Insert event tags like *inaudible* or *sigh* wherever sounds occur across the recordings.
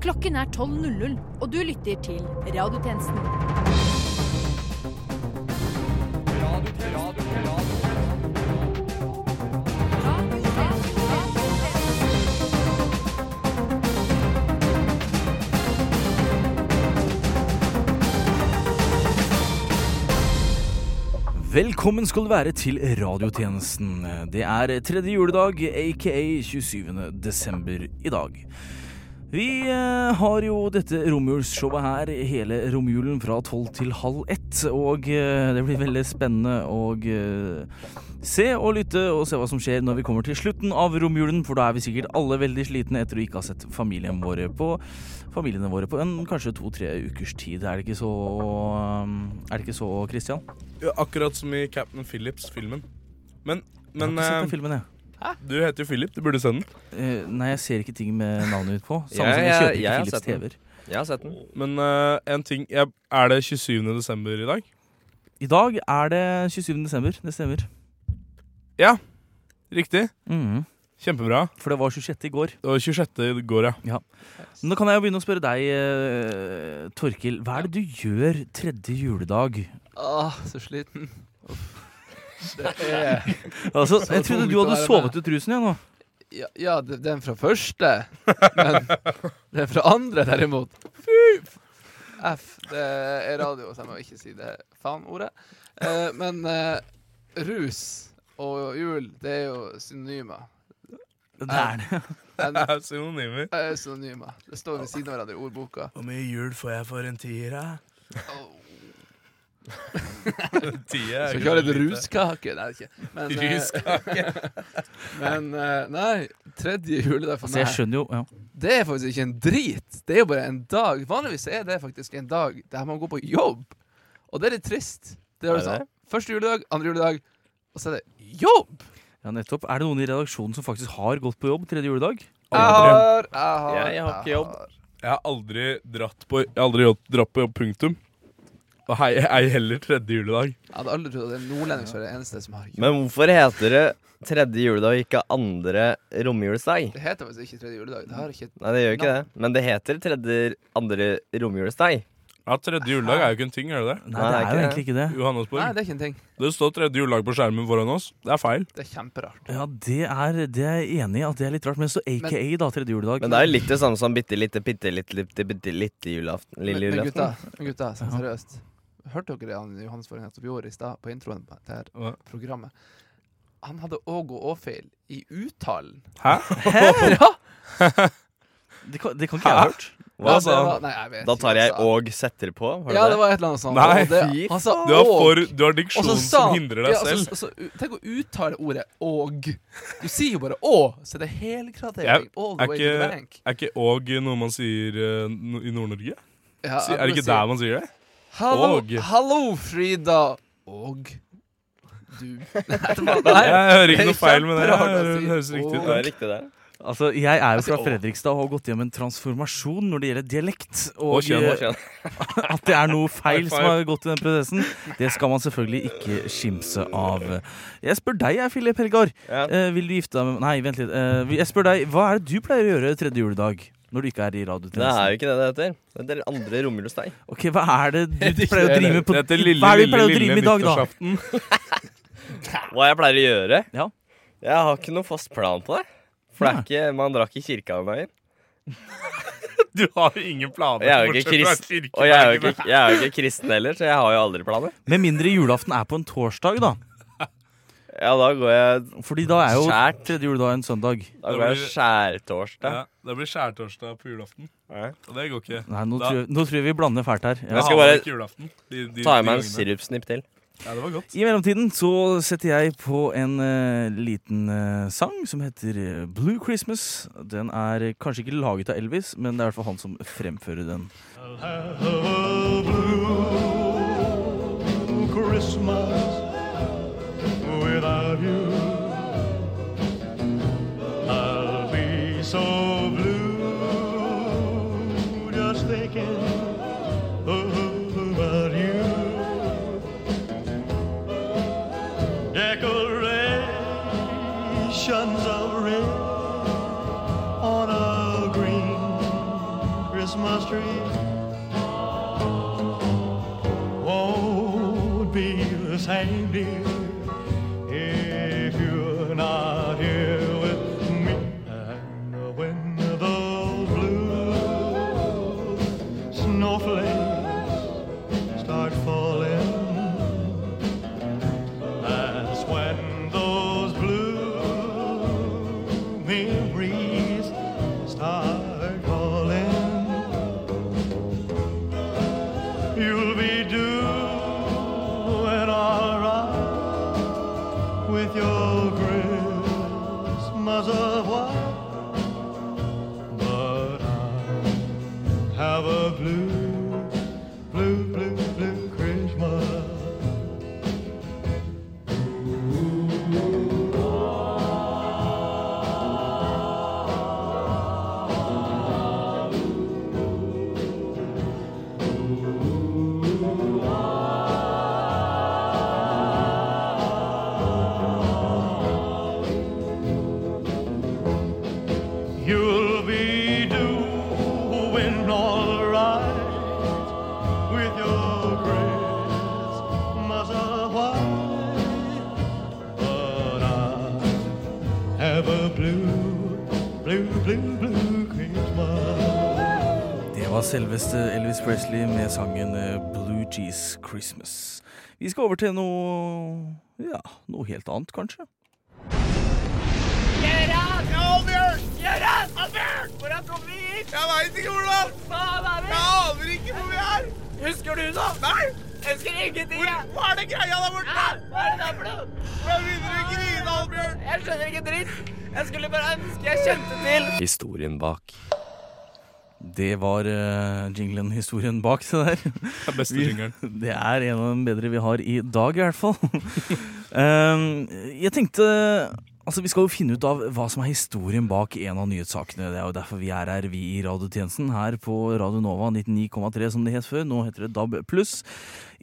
Klokken er 12.00, og du lytter til Radiotjenesten. Velkommen skal du være til radiotjenesten. Det er tredje juledag, aka 27. desember i dag. Vi eh, har jo dette romjulsshowet her hele romjulen fra tolv til halv ett. Og eh, det blir veldig spennende å eh, se og lytte og se hva som skjer når vi kommer til slutten av romjulen, for da er vi sikkert alle veldig slitne etter å ikke ha sett familien våre på, familiene våre på en kanskje to-tre ukers tid. Er det ikke så, eh, er det ikke så, Christian? Ja, akkurat som i Captain Phillips-filmen. Men, Jeg har men ikke sett eh, den filmen, jeg. du heter jo Philip, du burde se den. Eh, nei, jeg ser ikke ting med navnet mitt på. Samme Jeg- som jeg jeg- kjøper jeg ikke har Philips sett den. TV-er. Jeg har sett den. Men eh, en ting jeg, Er det 27. desember i dag? I dag er det 27. desember. Det stemmer. Riktig. Mhm. Kjempebra. For det var 26. i går. Det var 26. i går, ja. Men da kan jeg jo begynne å spørre deg, eh, Torkil. Hva er det du gjør tredje juledag? Åh, så sliten. Altså, Så jeg trodde tungt du å hadde være sovet ut rusen igjen nå. Ja, ja det- den fra første, men den fra andre, derimot Fy! F, det er radio, så jeg må ikke si det faen-ordet. Eh, men eh, rus og jul, det er jo synonymer. Det er det. En, Det er synonymer. er eh, synonymer. Det står ved siden av hverandre i ordboka. Hvor mye jul får jeg for en tier, da? Oh. Tier Skal kjøre litt ruskake. Nei, ikke. Men, eh, men eh, nei, tredje juledag for Altså, jeg meg skjønner jo ja. Det er faktisk ikke en drit. Det er jo bare en dag. Vanligvis er det faktisk en dag der man går på jobb. Og det er litt trist. Det er Er det det? sånn. Første juledag, andre juledag, og så er det jobb! ja, nettopp. Er det noen i redaksjonen som faktisk har gått på jobb tredje juledag? Jeg har, jeg har, Jeg har ikke jobb. har. Jeg har aldri dratt på, jeg har aldri jobb- dratt på jobb, punktum. Og hei, ei heller tredje juledag. Jeg hadde aldri trodd at en nordlending skulle være den eneste som har jobb. Men hvorfor heter det tredje juledag og ikke andre romjulsdag? Det heter faktisk ikke tredje juledag. Det har ikke Nei, det gjør ikke det. Men det heter tredje andre romjulsdag. Ja, Tredje juledag er jo ikke en ting, er det det? Nei, Nei, det er jo ikke egentlig ikke det. Nei, Johannesborg. det er ikke en ting. Det står tredje juledag på skjermen foran oss. Det er feil. Det er kjemperart. Ja, det er, det er jeg enig i at det er litt rart. Men så AKA, da, tredje juledag. Men det er jo litt det samme som bitte lite, bitte lite, bitte, bitte lite julaften. Men, Lille men gutta, julaften. men gutta, sånn seriøst. Hørte dere det han Johannes Våren nettopp gjorde i stad, på introen til her Hva? programmet? Han hadde òg og å-feil i uttalen. Hæ? *laughs* Ja! det, kan, det kan ikke jeg ha hørt. Hva Ja, det sa var- han? Nei, jeg vet Da ikke tar hva jeg han sa. og setter på. Var det altså, Ja, det det? var et eller annet sånt. Nei, Og det, fy han sa Du har, «og». for, du har Og så diksjon sa som han- hindrer deg ja, selv. Så, så, så, tenk å uttale ordet 'og'. Du sier jo bare 'å', så det er helgradering. Jeg- All er the way to the ikke- bank. Er ikke åg noe man sier eh, no- i Nord-Norge? Ja, Si- Er det ikke der man sier det? Hallo, «og». hallo, Frida. Og *laughs* du Jeg hører ikke *laughs* Nei, det noe er feil med det. kjemperart å Det si. høres riktig Det ut. er riktig, det. Altså, Jeg er jo fra Altså, å. Fredrikstad og har gått gjennom en transformasjon når det gjelder dialekt. Og, Og kjønn, eh, og kjønn. At det er noe feil *laughs* High som five. har gått i den prosessen, det skal man selvfølgelig ikke skimse av. Jeg spør deg, jeg, Filip Helgar. Ja. Eh, vil du gifte deg med Nei, vent litt. Eh, jeg spør deg, Hva er det du pleier å gjøre tredje juledag? Når du ikke er i Det er radiotjenesten? jo ikke det det heter. Det er andre romjulsdag. Ok, Hva er det du *laughs* Det pleier å drive med på Det heter lille, Hva er det du pleier lille, å drive lille med i dag, da? nyttårsaften. *laughs* Hva jeg pleier å gjøre? Ja. Jeg har ikke noen fast plan på det. For det er Nei. ikke, man drar ikke i kirka om dagen. Du har jo ingen planer. Og jeg er jo ikke bortsett fra kristen, og jeg er jo kirkedagen. ikke, jeg er jo ikke kristen heller, så jeg har jo aldri planer. Med mindre julaften er på en torsdag, da. Ja, da går jeg, Fordi da er jo Skjært. tredje juledag en søndag. da går jeg skjærtorsdag. Ja, det blir skjærtorsdag på julaften, Ja. og det går ikke. Nei, nå Da- tror, jeg, nå tror jeg vi blander fælt her. Ja. Jeg skal har bare- ikke julaften. De- de- Tar de jeg meg en gangene. sirupsnipp til. Ja, det var godt. I mellomtiden så setter jeg på en eh, liten eh, sang som heter eh, Blue Christmas. Den er eh, kanskje ikke laget av Elvis, men det er i hvert fall han som fremfører den. blue Christmas without you. I'll be so blue just thinking about you. Decorations of red on a green Christmas tree won't be the same, dear, if you're not here with me. And when those blue snowflakes start falling, that's when those blue memories start calling. You'll be doing all right with your Christmas of white, but I have a blue, blue, blue, blue Christmas. You'll be doing all right with your Christmas of white, but I have a blue, blue, blue, blue Christmas. Det var selveste Elvis Presley med sangen eh, Blue Cheese Christmas. Vi skal over til noe ja, noe helt annet, kanskje. Historien bak. Det var uh, jinglen-historien bak det der. *laughs* Det er beste jingeren. Det er en av de bedre vi har i dag, i hvert fall. *laughs* Ehm, jeg tenkte Altså, Vi skal jo finne ut av hva som er historien bak en av nyhetssakene. Det er jo derfor vi er her, vi i radiotjenesten, her på Radio Nova 99,3 som det het før. Nå heter det DAB+.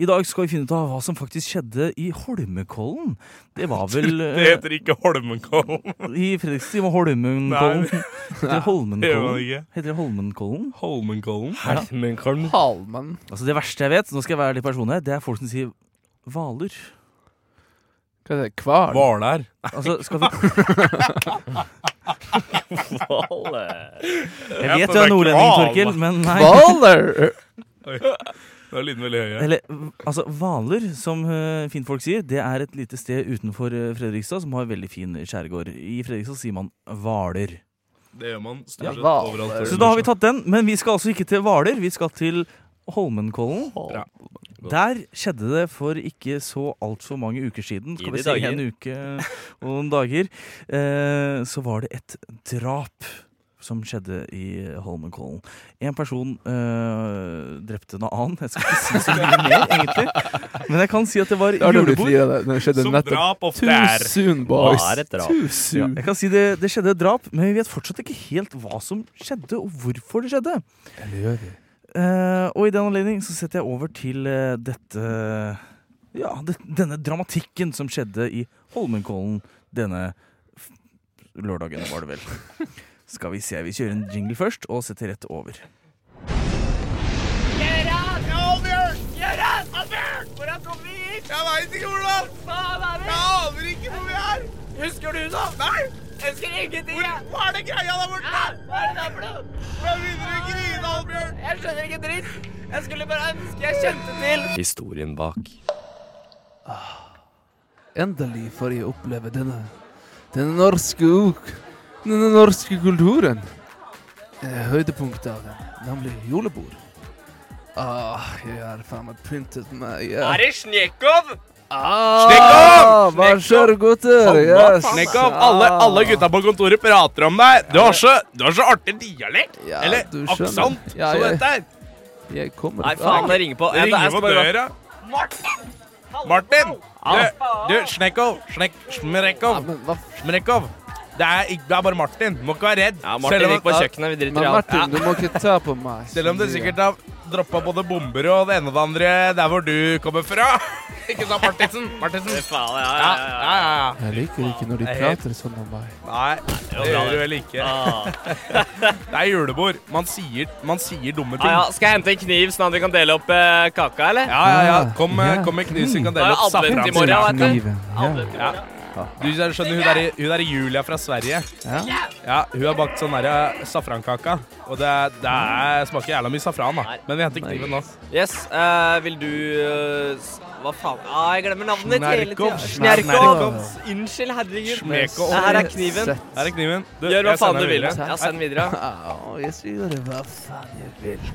I dag skal vi finne ut av hva som faktisk skjedde i Holmenkollen. Det *laughs* var vel *laughs* Det eh, heter ikke *laughs* Holmenkollen. I Fredrikstad var Holmenkollen. *laughs* Nei. Det er Det gjør man Holmenkollen. ikke. Heter det Holmenkollen? Holmenkollen? Holmenkollen. Halmen. Altså Det verste jeg vet, nå skal jeg være litt personlig, her, det er folk som sier Hvaler. Hva er det? Kval? Hvaler. Altså, skal vi Jeg Ja, vet du for det er er nordlending, kval. Torkil, men nei. *laughs* Hvaler! Det er lyden veldig høy. her. Eller altså, Hvaler, som eh, finfolk sier, det er et lite sted utenfor eh, Fredrikstad som har veldig fin skjærgård. I Fredrikstad sier man Hvaler. Det gjør man stort sett Ja, hva- overalt. Så da har vi tatt den, men vi skal altså ikke til Hvaler, vi skal til Holmenkollen. Ja. Der skjedde det for ikke så altfor mange uker I siden, skal vi de si dager. en uke og noen dager, eh, så var det et drap som skjedde i Holmenkollen. En person eh, drepte en annen. Jeg skal ikke si så mye mer, egentlig. Men jeg kan si at det var Det har du blitt julebord. livet av. Det skjedde Som nettopp. drap ofte Too er. soon, Hva boys. er et drap? Too Ja, soon. jeg kan si det, det skjedde et drap, men vi vet fortsatt ikke helt hva som skjedde, og hvorfor det skjedde. Eh, og i den anledning så setter jeg over til eh, dette Ja, det, denne dramatikken som skjedde i Holmenkollen denne f- lørdagen, var det vel. Skal vi se. Vi kjører en jingle først, og setter rett over. Historien bak. Endelig får jeg oppleve denne denne norske uk, denne norske kulturen. Eh, Høydepunktet av den, nemlig julebord. Ah, jeg har faen meg pyntet meg. Er det Snekov? Ah, Snekov! Hva skjer, gutter? Yes. Snekkov, alle, alle gutta på kontoret prater om deg. Du har så, du har så artig dialekt. Ja, Eller du skjønner. aksent, Ja, som ja. dette her. Jeg kommer Nei, faen, det ringer på. Det Jeg- jeg ringer skal på bare- døra. Martin! Du, du Snekkov. Snek, Ah, Smrekov. men hva Smrekov. Det er, ikke, det er bare Martin. Du må ikke være redd. Ja, Martin gikk på ja, kjøkkenet. Vi driter Men i alt. Martin, du må ikke ta på meg. selv om det sikkert har droppa både bomber og det ene og det andre der hvor du kommer fra. Ikke sant, Martinsen? Martinsen. Faen, ja, Ja, ja, ja, ja. ja. Jeg liker ikke når de prater sånn om meg. Nei, det bra, gjør det. du vel ikke. Ah. *laughs* Det er julebord. Man sier, man sier dumme ting. Ah, ja. Skal jeg hente en kniv sånn at vi kan dele opp eh, kaka, eller? Ja, ja, ja. Ja. Kom, eh, Ah, Ja. kom med kniv, så vi kan Da er dele opp alle safran. rundt i morgen. Ja, vet du. Kniven, Alle ja. til morgen. Du skjønner, hun der, i- hun der i Julia fra Sverige. Ja. Ja, Hun har bakt sånn der, eh, safrankaka. Og det, er- det er, smaker jævla mye safran, da. Men vi henter kniven nå. Yes, eh, vil du eh, s- Hva faen? Ah, jeg glemmer navnet hele Snerkov. tida. Unnskyld, herregud. Smekov. Her er kniven. Her er kniven. Du, Gjør hva jeg faen sender du vil. videre. Ja, send *laughs* videre. Au, jeg skal gjøre hva faen jeg *laughs* vil.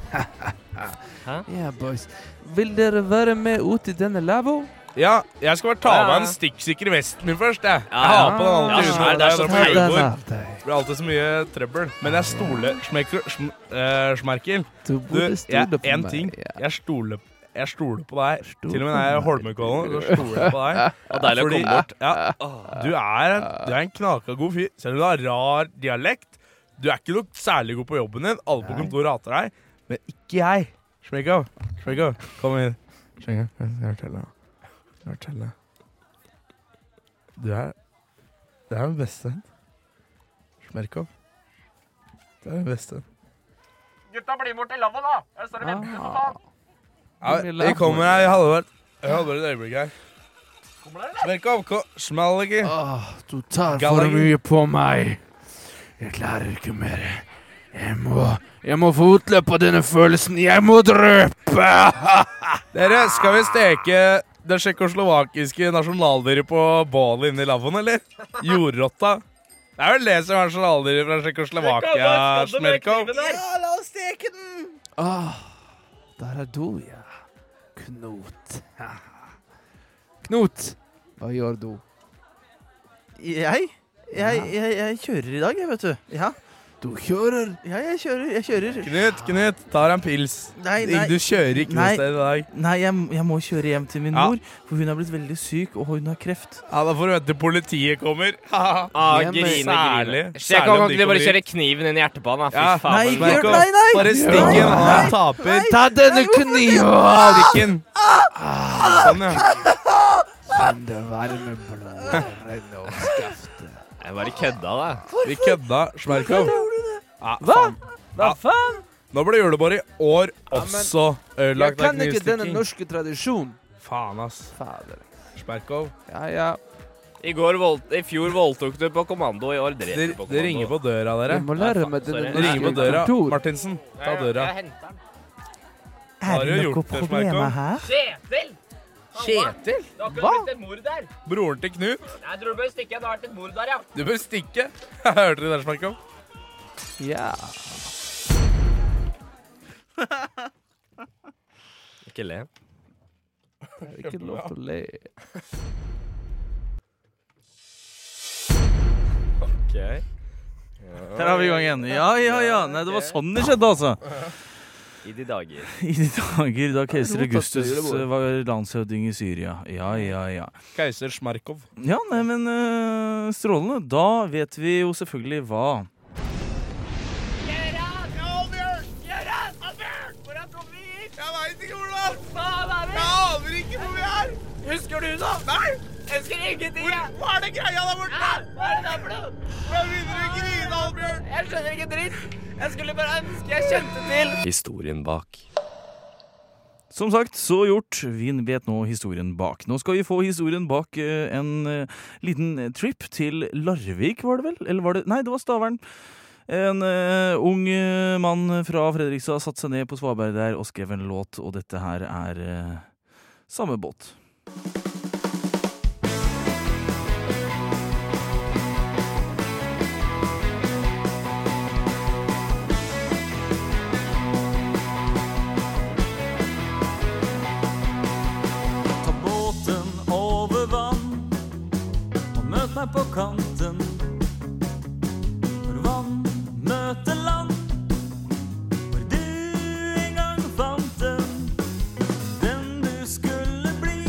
Hæ? Ja, boys. Vil dere være med ut i denne lavvo? Ja, jeg skal bare ta av Ja, ja. meg en stikksikker vesten min først, jeg. Jeg Ja, ja. har på den alltid Ja, under. det er så når teit. jeg er på julebord. av deg. Det blir alltid så mye trøbbel. Men jeg stoler Smerkel. Sm, eh, Smerkel. Du Du, burde jeg, stole på en meg. ting. Ja. Jeg stoler jeg stoler på deg. Stol Til og med når på jeg er i meg. Holmenkollen, så stoler jeg på deg. Ja, deilig å Fordi- komme bort. Ja, du er, en- du er en knaka god fyr. Selv om du har rar dialekt. Du er ikke noe særlig god på jobben din. Alle på kontoret hater deg. Men ikke jeg. Smerkel, Smerkel, kom inn. Smerkel, jeg skal fortelle deg. Jeg skal fortelle deg. Du er Du er den beste. Smerkel. Du er den beste. Gutta, bli bort til lavvo, da. Jeg står Ah. Ja, vi kommer her i halvår. Jeg holder bare et øyeblikk her. Smerk av, ko- smell ikke. Åh, ah, du tar for Gallagher. mye på meg. Jeg klarer ikke mer. Jeg må, jeg må få utløp på denne følelsen. Jeg må drøpe! Dere, skal vi steke det tsjekkoslovakiske nasjonaldyret på bålet inne i lavvoen, eller? Jordrotta. Det er vel det som er nasjonaldyret fra Tsjekkoslovakia, Smerkov. sånn Ja, Åh, Ah, der er du, ja. Knut. *laughs* Knut, hva gjør du? Jeg? Jeg, jeg, jeg kjører i dag, jeg, vet du. Ja, Du kjører. ja jeg kjører. Jeg kjører. Knut, Knut, tar en pils. Nei, nei. Du kjører ikke noe Nei. sted i dag. Nei, jeg, jeg må kjøre hjem til min Ja. mor, for hun har blitt veldig syk, og hun har kreft. Ja, Da får du vente til politiet kommer. *laughs* Ah, Hjemme. grine, grine. Særlig- Sjekk særlig kan ikke om de de bare kommer kjøre kniven inn i hjertet på han, da? Ja. Fy faen. Nei, men- ikke gjør Smerkov, nei, nei! Bare stikk Nei, en, han nei, Ah, taper. Ta denne kniven! Stikk en. Sånn, ja. Kjenn det varme blodet *laughs* renne og skafte. Jeg bare kødda, da. Vi kødda, Smerkov. Hva? Hva faen? Nå ble julebord i år også Jeg ødelagt av kan ikke denne knivstikking. norske tradisjonen. Faen, ass. Fader. Smerkov. Ja, ja. I, går voldt- I fjor voldtok du på kommando, i år drev Det du på kommando. det ringer på døra, dere. Jeg må lære meg sorry. denne Det ringer på norske døra. kultur. Martinsen, ta døra. Jeg henter den. Har Er du det noe gjort det, problem Smerkov? her? Kjetil! Kjetil? Det har akkurat blitt et mord der. Broren til Knut. Jeg tror du bør stikke. Det har vært et mord der, ja. Du bør stikke. *laughs* Hørte du det, Smerkov? Ja. Ikke le. Det er ikke lov til å le. Okay. Der er vi i gang igjen. Ja, ja, ja. Nei, det var sånn det skjedde, altså. I de dager. *laughs* I de dager da keiser Augustus eh, var landshøvding i Syria. Ja, ja, ja. Keiser Smerkov. Ja, nei, men eh, strålende. Da vet vi jo selvfølgelig hva. Historien bak. Som sagt, så gjort. Vi vet nå historien bak. Nå skal vi få historien bak eh, en eh, liten trip til Larvik, var det vel? Eller var det Nei, det var Stavern. En eh, ung eh, mann fra Fredrikstad satte seg ned på Svaberg der og skrev en låt, og dette her er eh, samme båt. Ta båten over vann og møt meg på kanten. Når vann møter land, hvor du en gang fant den. Den du skulle bli,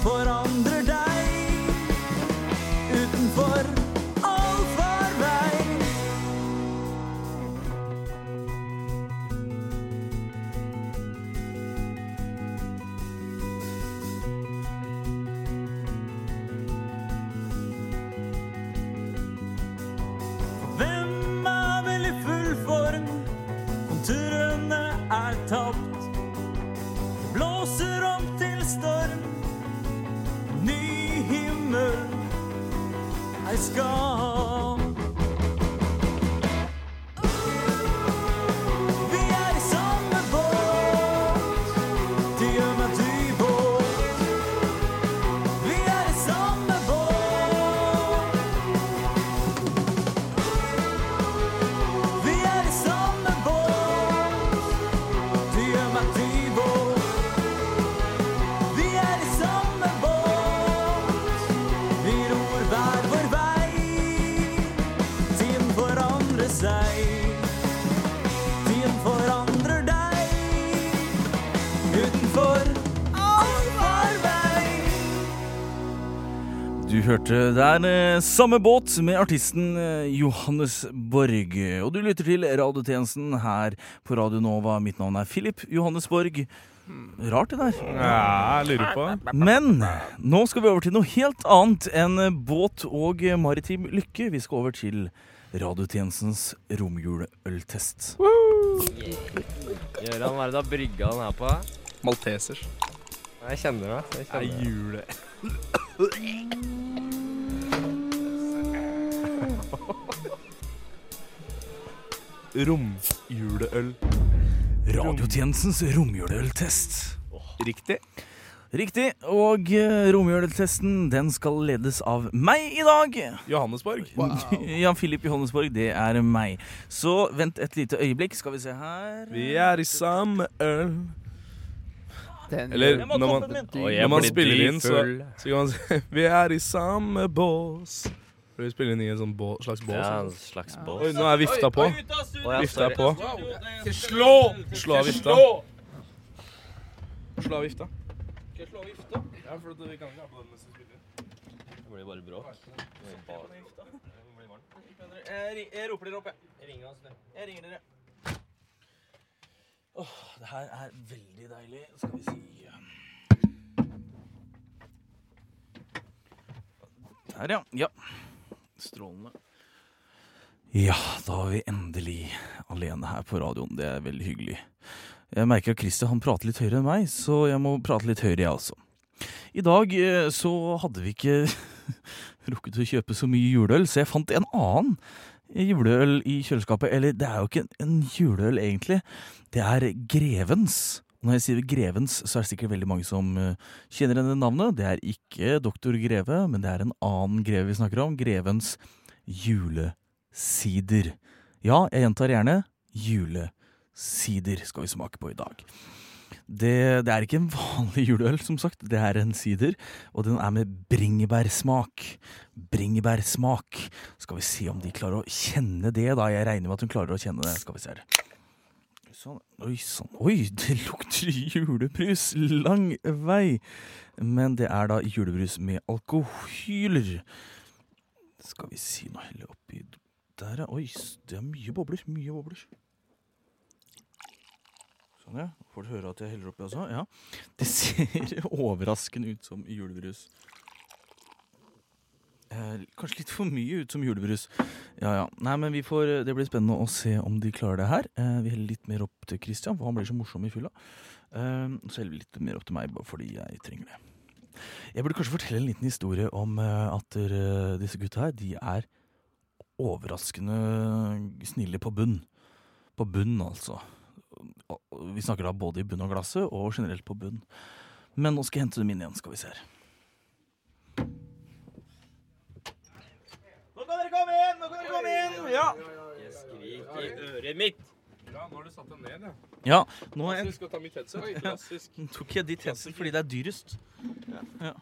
forandrer deg utenfor allfarvei. Hvem er vel i full form? Konturene er tapt. Det blåser om til storm. Ny himmel jeg skal ha. Vi er i samme båt. Det gjør meg dypåt. Vi er i samme båt. Vi er i samme båt. Du gjør meg dyvåt. Vi er i samme båt. Vi ror hver vår vei. Tiden forandrer seg. Tiden forandrer deg. Utenfor allfarvei. Du hørte der eh, Samme båt med artisten eh, Johannes Borg. Og du lytter til radiotjenesten her på Radio Nova. Mitt navn er Filip Johannes Borg. Rart det der. Ja, jeg lurer på. Men nå skal vi over til noe helt annet enn båt og maritim lykke. Vi skal over til radiotjenestens romjuleøltest. Gjøran, hva er det du har brygga den her på? Maltesers. Jeg kjenner det. Jeg kjenner det. Jule. Romjuleøl. Radiotjenestens romjuleøltest. Riktig. Riktig. Og eh, romjuleøltesten den skal ledes av meg i dag. Johannesborg. *laughs* Jan Filip Johannesborg, det er meg. Så vent et lite øyeblikk, skal vi se her Vi er i samme øl. Den Eller gjør- når man, når man spiller inn, så, så kan man si *laughs* Vi er i samme bås. For vi spiller inn i en sånn bå, slags bås. Ja, altså. en slags båt. Oi, nå er vifta på. Å, ja, Vifta sorry. er på. Slå! Slå av vifta. Slå av vifta. Ja, for vi kan ikke ha på den mens vi spiller. Det blir bare bråk. Det blir bare- Jeg ri- Jeg roper dere opp, jeg. Jeg ringer oss, dere. Jeg ringer dere. Det her er veldig deilig. Skal vi si Der, ja. ja. Strålende. Ja, da er vi endelig alene her på radioen. Det er veldig hyggelig. Jeg merker at Christer han prater litt høyere enn meg, så jeg må prate litt høyere, jeg også. I dag eh, så hadde vi ikke *laughs* rukket å kjøpe så mye juleøl, så jeg fant en annen juleøl i kjøleskapet. Eller det er jo ikke en, en juleøl, egentlig. Det er Grevens. Når jeg sier Grevens, så er det sikkert veldig mange som eh, kjenner igjen det navnet. Det er ikke doktor Greve, men det er en annen greve vi snakker om. Grevens julesider. Ja, jeg gjentar gjerne julesider skal vi smake på i dag. Det, det er ikke en vanlig juleøl, som sagt. Det er en sider, og den er med bringebærsmak. Bringebærsmak. Skal vi se om de klarer å kjenne det, da. Jeg regner med at hun klarer å kjenne det. Skal vi se her. Sånn. Oi sann. Oi, det lukter julebrus lang vei. Men det er da julebrus med alkohyler. Skal vi si noe helle oppi der, ja. Oi, s- det er mye bobler. Mye bobler. Sånn, ja. Får du høre at jeg heller oppi også? Ja. Det ser *laughs* overraskende ut som julebrus. Eh, kanskje litt for mye ut som julebrus. Ja, ja. Nei, men vi får, eh, Det blir spennende å se om de klarer det her. Eh, vi heller litt mer opp til Christian, for han blir så morsom i fylla. Eh, så heller vi litt mer opp til meg, bare fordi jeg trenger det. Jeg burde kanskje fortelle en liten historie om eh, at eh, disse gutta her, de er overraskende snille på bunn. På bunn, altså. Og- og Vi snakker da både i bunn av glasset og generelt på bunn. Men nå skal jeg hente dem inn igjen, skal vi se her. Nå kan dere komme inn! Nå kan dere komme inn! Ja. Jeg skriker i øret mitt. ja nå har du satt deg ned, ja. Ja, nå er jeg Du skal ta mitt headset. *laughs* Klassisk. tok jeg ditt headset fordi det er dyrest. Ja.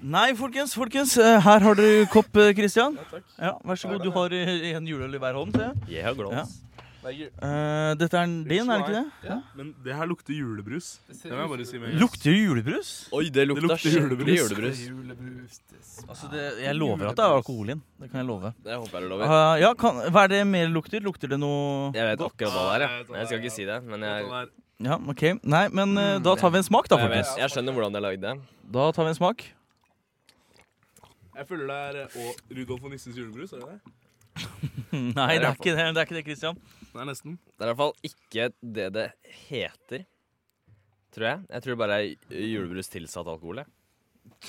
Nei, folkens, folkens. eh, Her har du kopp, eh, Christian. Ja, vær så god. Du har eh, en juleøl i hver hånd. ser jeg. Jeg har glans. Eh, dette er din, er det ikke det? Men det her lukter julebrus. Det må jeg bare si med en gang. Lukter julebrus? Oi, det lukta lukter skikkelig julebrus. julebrus. Julebrus det Altså det, jeg lover at det er alkohol i den. Det kan jeg love. Det håper jeg du lover. Eh, ja, kan, hva er det mer lukter? Lukter det noe Jeg vet akkurat hva det er, jeg. Ja, jeg vet Men hva Jeg skal det er, ikke si det, men jeg, Sånn her. Ja, OK. Nei, men eh, da tar vi en smak, da, jeg, vet, folkens. jeg skjønner hvordan det er lagd. det. Da tar vi en smak. Jeg føler det er eh, og Rudolf og nissens julebrus. er det det? Nei, det er ikke det, det, er ikke det Christian. Det er nesten. Det er i hvert fall ikke det det heter, tror jeg. Jeg tror det bare er julebrus tilsatt alkohol. jeg.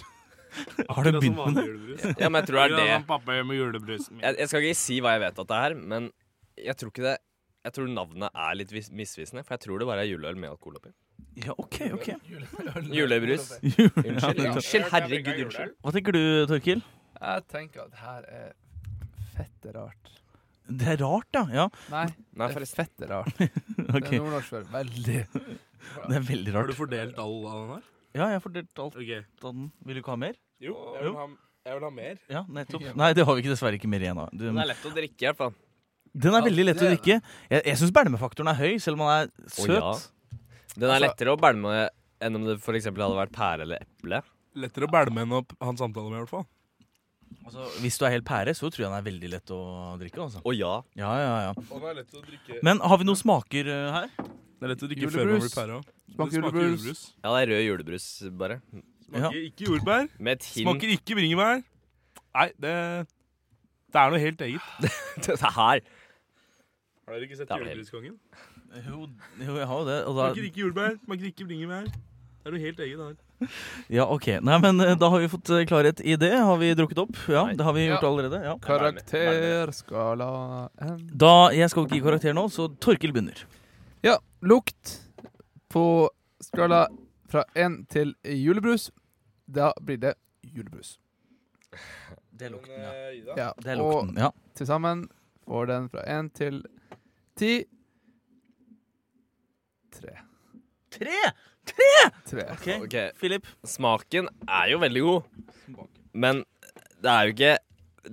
Har du Akkurat som begynt med det? vanlig julebrus. Ja, men jeg tror det er det. Akkurat som Pappa gjør med julebrusen min. Jeg, jeg skal ikke si hva jeg vet at det er, men jeg tror ikke det Jeg tror navnet er litt vis- misvisende, for jeg tror det bare er juleøl med alkohol oppi. Ja, OK, OK. Julebrus. *laughs* Unnskyld, unnskyld, herregud, unnskyld. Hva tenker du, Torkil? Jeg tenker at her er fette rart. Det er rart, da. Ja, Nei, Nei, det er forresten. fette rart. Det ok. er nordnorsk for veldig. Det er veldig Har du rart. fordelt all av den her? Ja, jeg har fordelt alt Ok. av den. Vil du ikke ha mer? Jo, jeg vil ha, jeg vil ha mer. Ja, nettopp. Nei, det har vi ikke, dessverre ikke mer igjen av. Du- Den er lett å drikke, i hvert fall. Den er veldig lett å det drikke. Jeg, jeg syns belmefaktoren er høy, selv om han er Å, ja. søt. Den er lettere å bælme enn om det for eksempel hadde vært pære eller eple. Lettere å bælme enn å p- ha en samtale med, i hvert fall. Altså, hvis du er helt pære, så tror jeg den er veldig lett å drikke. altså. Å ja. Ja, ja, ja. Og det er lett å drikke Men har vi noen smaker eh, her? Det er lett å drikke Julebrus. før man blir pæra. Smaker julebrus. Ja, det er rød julebrus, bare. Ja. Smaker ikke jordbær. Med et hint Smaker ikke bringebær. Nei, det Det er noe helt eget. *laughs* Det her. Har dere ikke sett Det er noe helt- Julebruskongen? Jo, jo, jeg har jo det. Og Smaker da, ikke jordbær, smaker ikke bringebær. Det er noe helt eget her. ja, ok. Nei, men eh, da har vi fått eh, klarhet i det. Har vi drukket opp? Ja, Nei. det har vi Ja. gjort allerede. ja. Karakterskala N. Da, Jeg skal ikke gi karakter nå, så Torkil begynner. Ja, lukt på skala fra én til julebrus. Da blir det julebrus. Det er lukten, ja. ja. Ja, Det er og lukten, ja. til sammen får den fra én til ti. Tre. Tre! Tre. Ok, Ok, Philip. smaken er jo veldig god, men det er jo ikke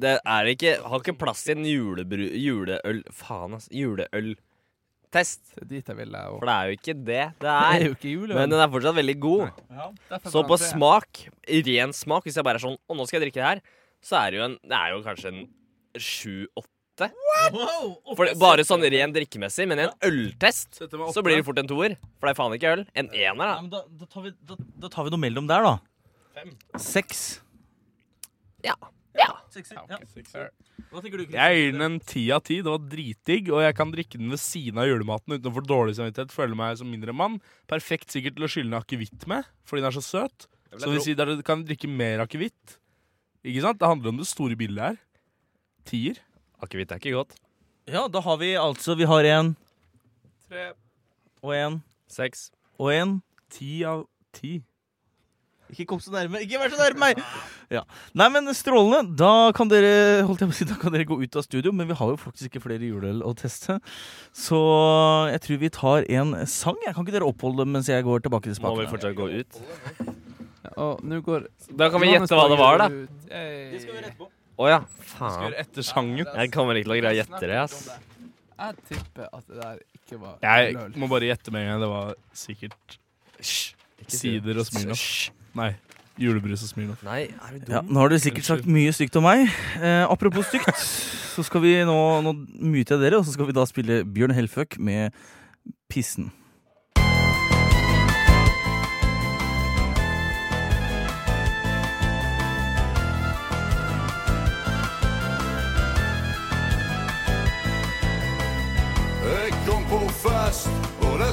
Det er ikke Har ikke plass til en julebru... Juleøl... Faen, ass. Juleøltest. Så dit jeg ville. Og For det er jo ikke det det det er er. jo ikke juleøl. Men den er fortsatt veldig god. Derfor Så får på den tre. smak, ren smak, hvis jeg bare er sånn Å, nå skal jeg drikke det her, så er det jo en Det er jo kanskje en sju-åtte. For det- Bare sånn ren drikkemessig, men i en øltest Dette med åtte. så blir det fort en toer. For det er faen ikke øl. En ener, Ja, da. men da, da, tar vi, da, da tar vi noe mellom der, da. Seks. Ja. Ja. Sekser. Ja. Hva tenker du, Jeg gir den en ti av ti. Det var dritdigg, og jeg kan drikke den ved siden av julematen uten å få dårlig samvittighet. Føler meg som mindre mann. Perfekt sikkert til å skylle ned akevitt med, fordi den er så søt. Så det vil si dere kan drikke mer akevitt. Ikke sant? Det handler om det store bildet her. Tier. Akevitt er ikke godt. Ja, da har vi altså Vi har en Tre. og en Seks. og en. Ti av ti. Ikke kom så nærme. Ikke vær så nærme meg! Ja. Nei, men strålende. Da kan dere holdt jeg på å si, da kan dere gå ut av studio, men vi har jo faktisk ikke flere juleøl å teste. Så jeg tror vi tar en sang. Jeg Kan ikke dere oppholde mens jeg går tilbake til Må vi spakene? fortsatt gå ut? Og nå går Da kan vi gjette hva det var, da. Det skal vi rette på. Å ja. Skal Faen. gjøre etter sangen. Jeg kommer ikke til å greie å gjette det, ass. Jeg tipper at det der ikke var Jeg juleøl. må bare gjette med en gang. Det var sikkert Sider og Smirnoff. Hysj. Nei. Julebrus og Smirnoff. Nei, er du Ja, dum? nå har dere sikkert sagt mye stygt om meg. Eh, apropos stygt, så skal vi nå Nå myter jeg dere, og så skal vi da spille Bjørn Helføk med Pissen. Jeg kom på fest, og der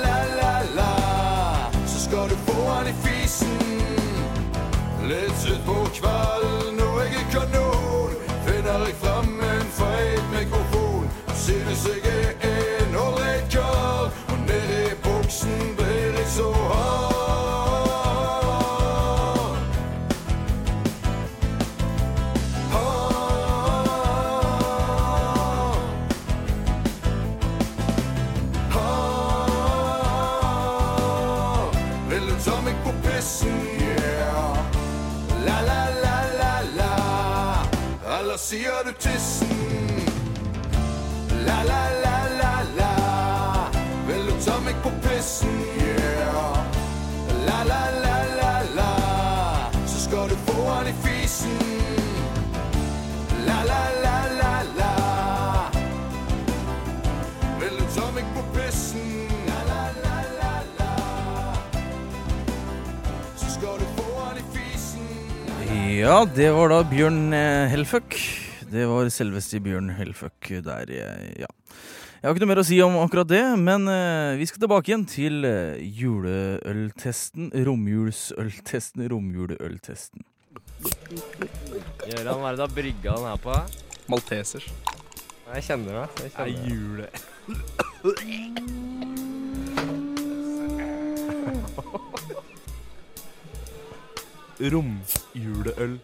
la, la, la. Så skal du få han i fisen. Litt utpå kvelden, og jeg er kanon. Finner jeg frem en feit mikrofon. Synes jeg er en ålreit kar. eller sier du tissen? La, la, la, la, la. Vil du ta meg på pissen? Yeah. La, la, la, la, la. Så skal du få han i fisen. La, la, la, la, la. Vil du ta meg på pissen? La, la, la, la, la. Så skal du få han i fisen. Ja, det var da Bjørn eh, Helføk. Det var selveste Bjørn Helføk der, eh, ja. Jeg har ikke noe mer å si om akkurat det, men eh, vi skal tilbake igjen til eh, juleøltesten. Romjulsøltesten, romjuleøltesten. Gjøran, hva er det du har brygga den her på? Maltesers. Nei, Jeg kjenner det. Jeg kjenner det. Jule. Romjuleøl.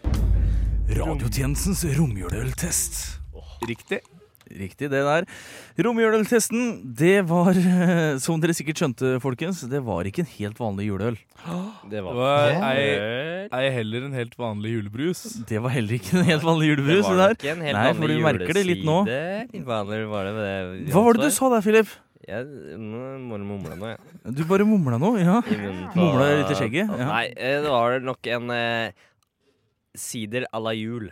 Radiotjenestens romjuleøltest. Riktig. Riktig, det der. Romjuleøltesten, det var, *laughs* eh, som dere sikkert skjønte, folkens, det var ikke en helt vanlig juleøl. Det Det var var ei, ei heller en helt vanlig julebrus. Det var heller ikke en helt vanlig julebrus. Det der. ikke en helt Nei, for vanlig du merker det litt nå. julesider. Hva var det, var det, det Hva var det du sa der, Philip? Jeg må må mumle nå, jeg. Du bare mumla noe, ja. I munnen på- *laughs* Mumla litt i skjegget, ja. Nei, eh, det var nok en eh, sider à la jul.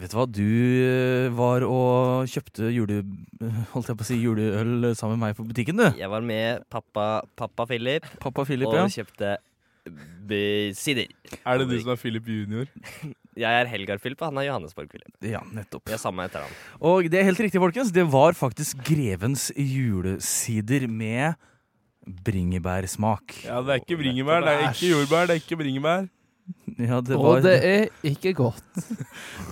Vet du hva, du eh, var og kjøpte jule... *laughs* Holdt jeg på å si juleøl sammen med meg på butikken, du. Jeg var med pappa, pappa Philip Pappa Philip, og ja. kjøpte b sider. Er det du som er Philip junior? Jeg er Helgar Philip, og han er Johannesborg Philip. Ja, nettopp. Vi er samme etter han. Og det er helt riktig, folkens. Det var faktisk Grevens julesider med bringebærsmak. Ja, det er ikke bringebær, det er ikke jordbær, det er ikke bringebær. Ja, det var Og det er ikke godt.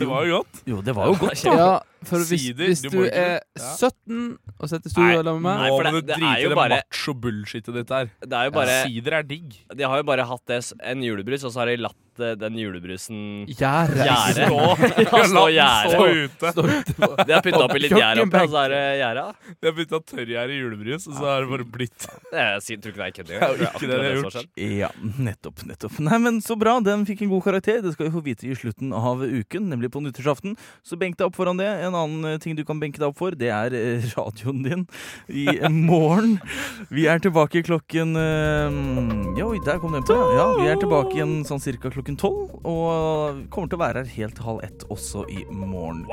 Det var jo godt. Jo, det var jo godt. Ja, for hvis, Sider, hvis du du må ikke- er Ja. 17 og sitter i studio sammen med meg nei, Nå for må det- du det er drite i jo det bare- macho-bullshitet ditt der. Det er jo bare Sider er digg. De har jo bare hatt det, s- en julebrus, og så har de latt eh, den julebrusen Gjære. Gjære. *laughs* Ja, stå gjære. ute. De har putta oppi litt gjære oppi, og Kjøkkenbenk. så er det gjæra. De har bytta tørrgjær i julebrus, og så har det bare blitt Jeg sier- Eh, tror ikke det er kødd Det er jo ikke det de har gjort. Ja, nettopp, nettopp. Nei, men så bra. Den fikk en god karakter. Det skal vi få vite i slutten av uken, nemlig på nyttårsaften. Så benk deg opp foran det. En annen eh, ting du kan benke deg opp for, det er eh, radioen din i morgen. Vi er tilbake klokken eh, ja, Oi, der kom den på. ja. Ja, vi er tilbake igjen sånn cirka klokken tolv. Og kommer til å være her helt halv ett også i morgen.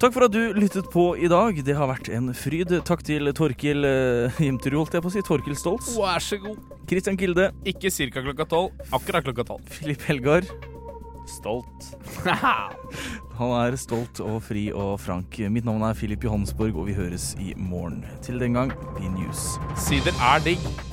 Takk for at du lyttet på i dag. Det har vært en fryd. Takk til Torkil eh, Jimterud, holdt jeg på å si. Torkil Stoltz. Vær så god. Christian Kilde. Ikke cirka klokka tolv. Akkurat klokka tolv. Filip Helgar. Stolt. Han er stolt og fri og frank. Mitt navn er Filip Johannesborg, og vi høres i morgen. Til den gang, be news. Sider er digg.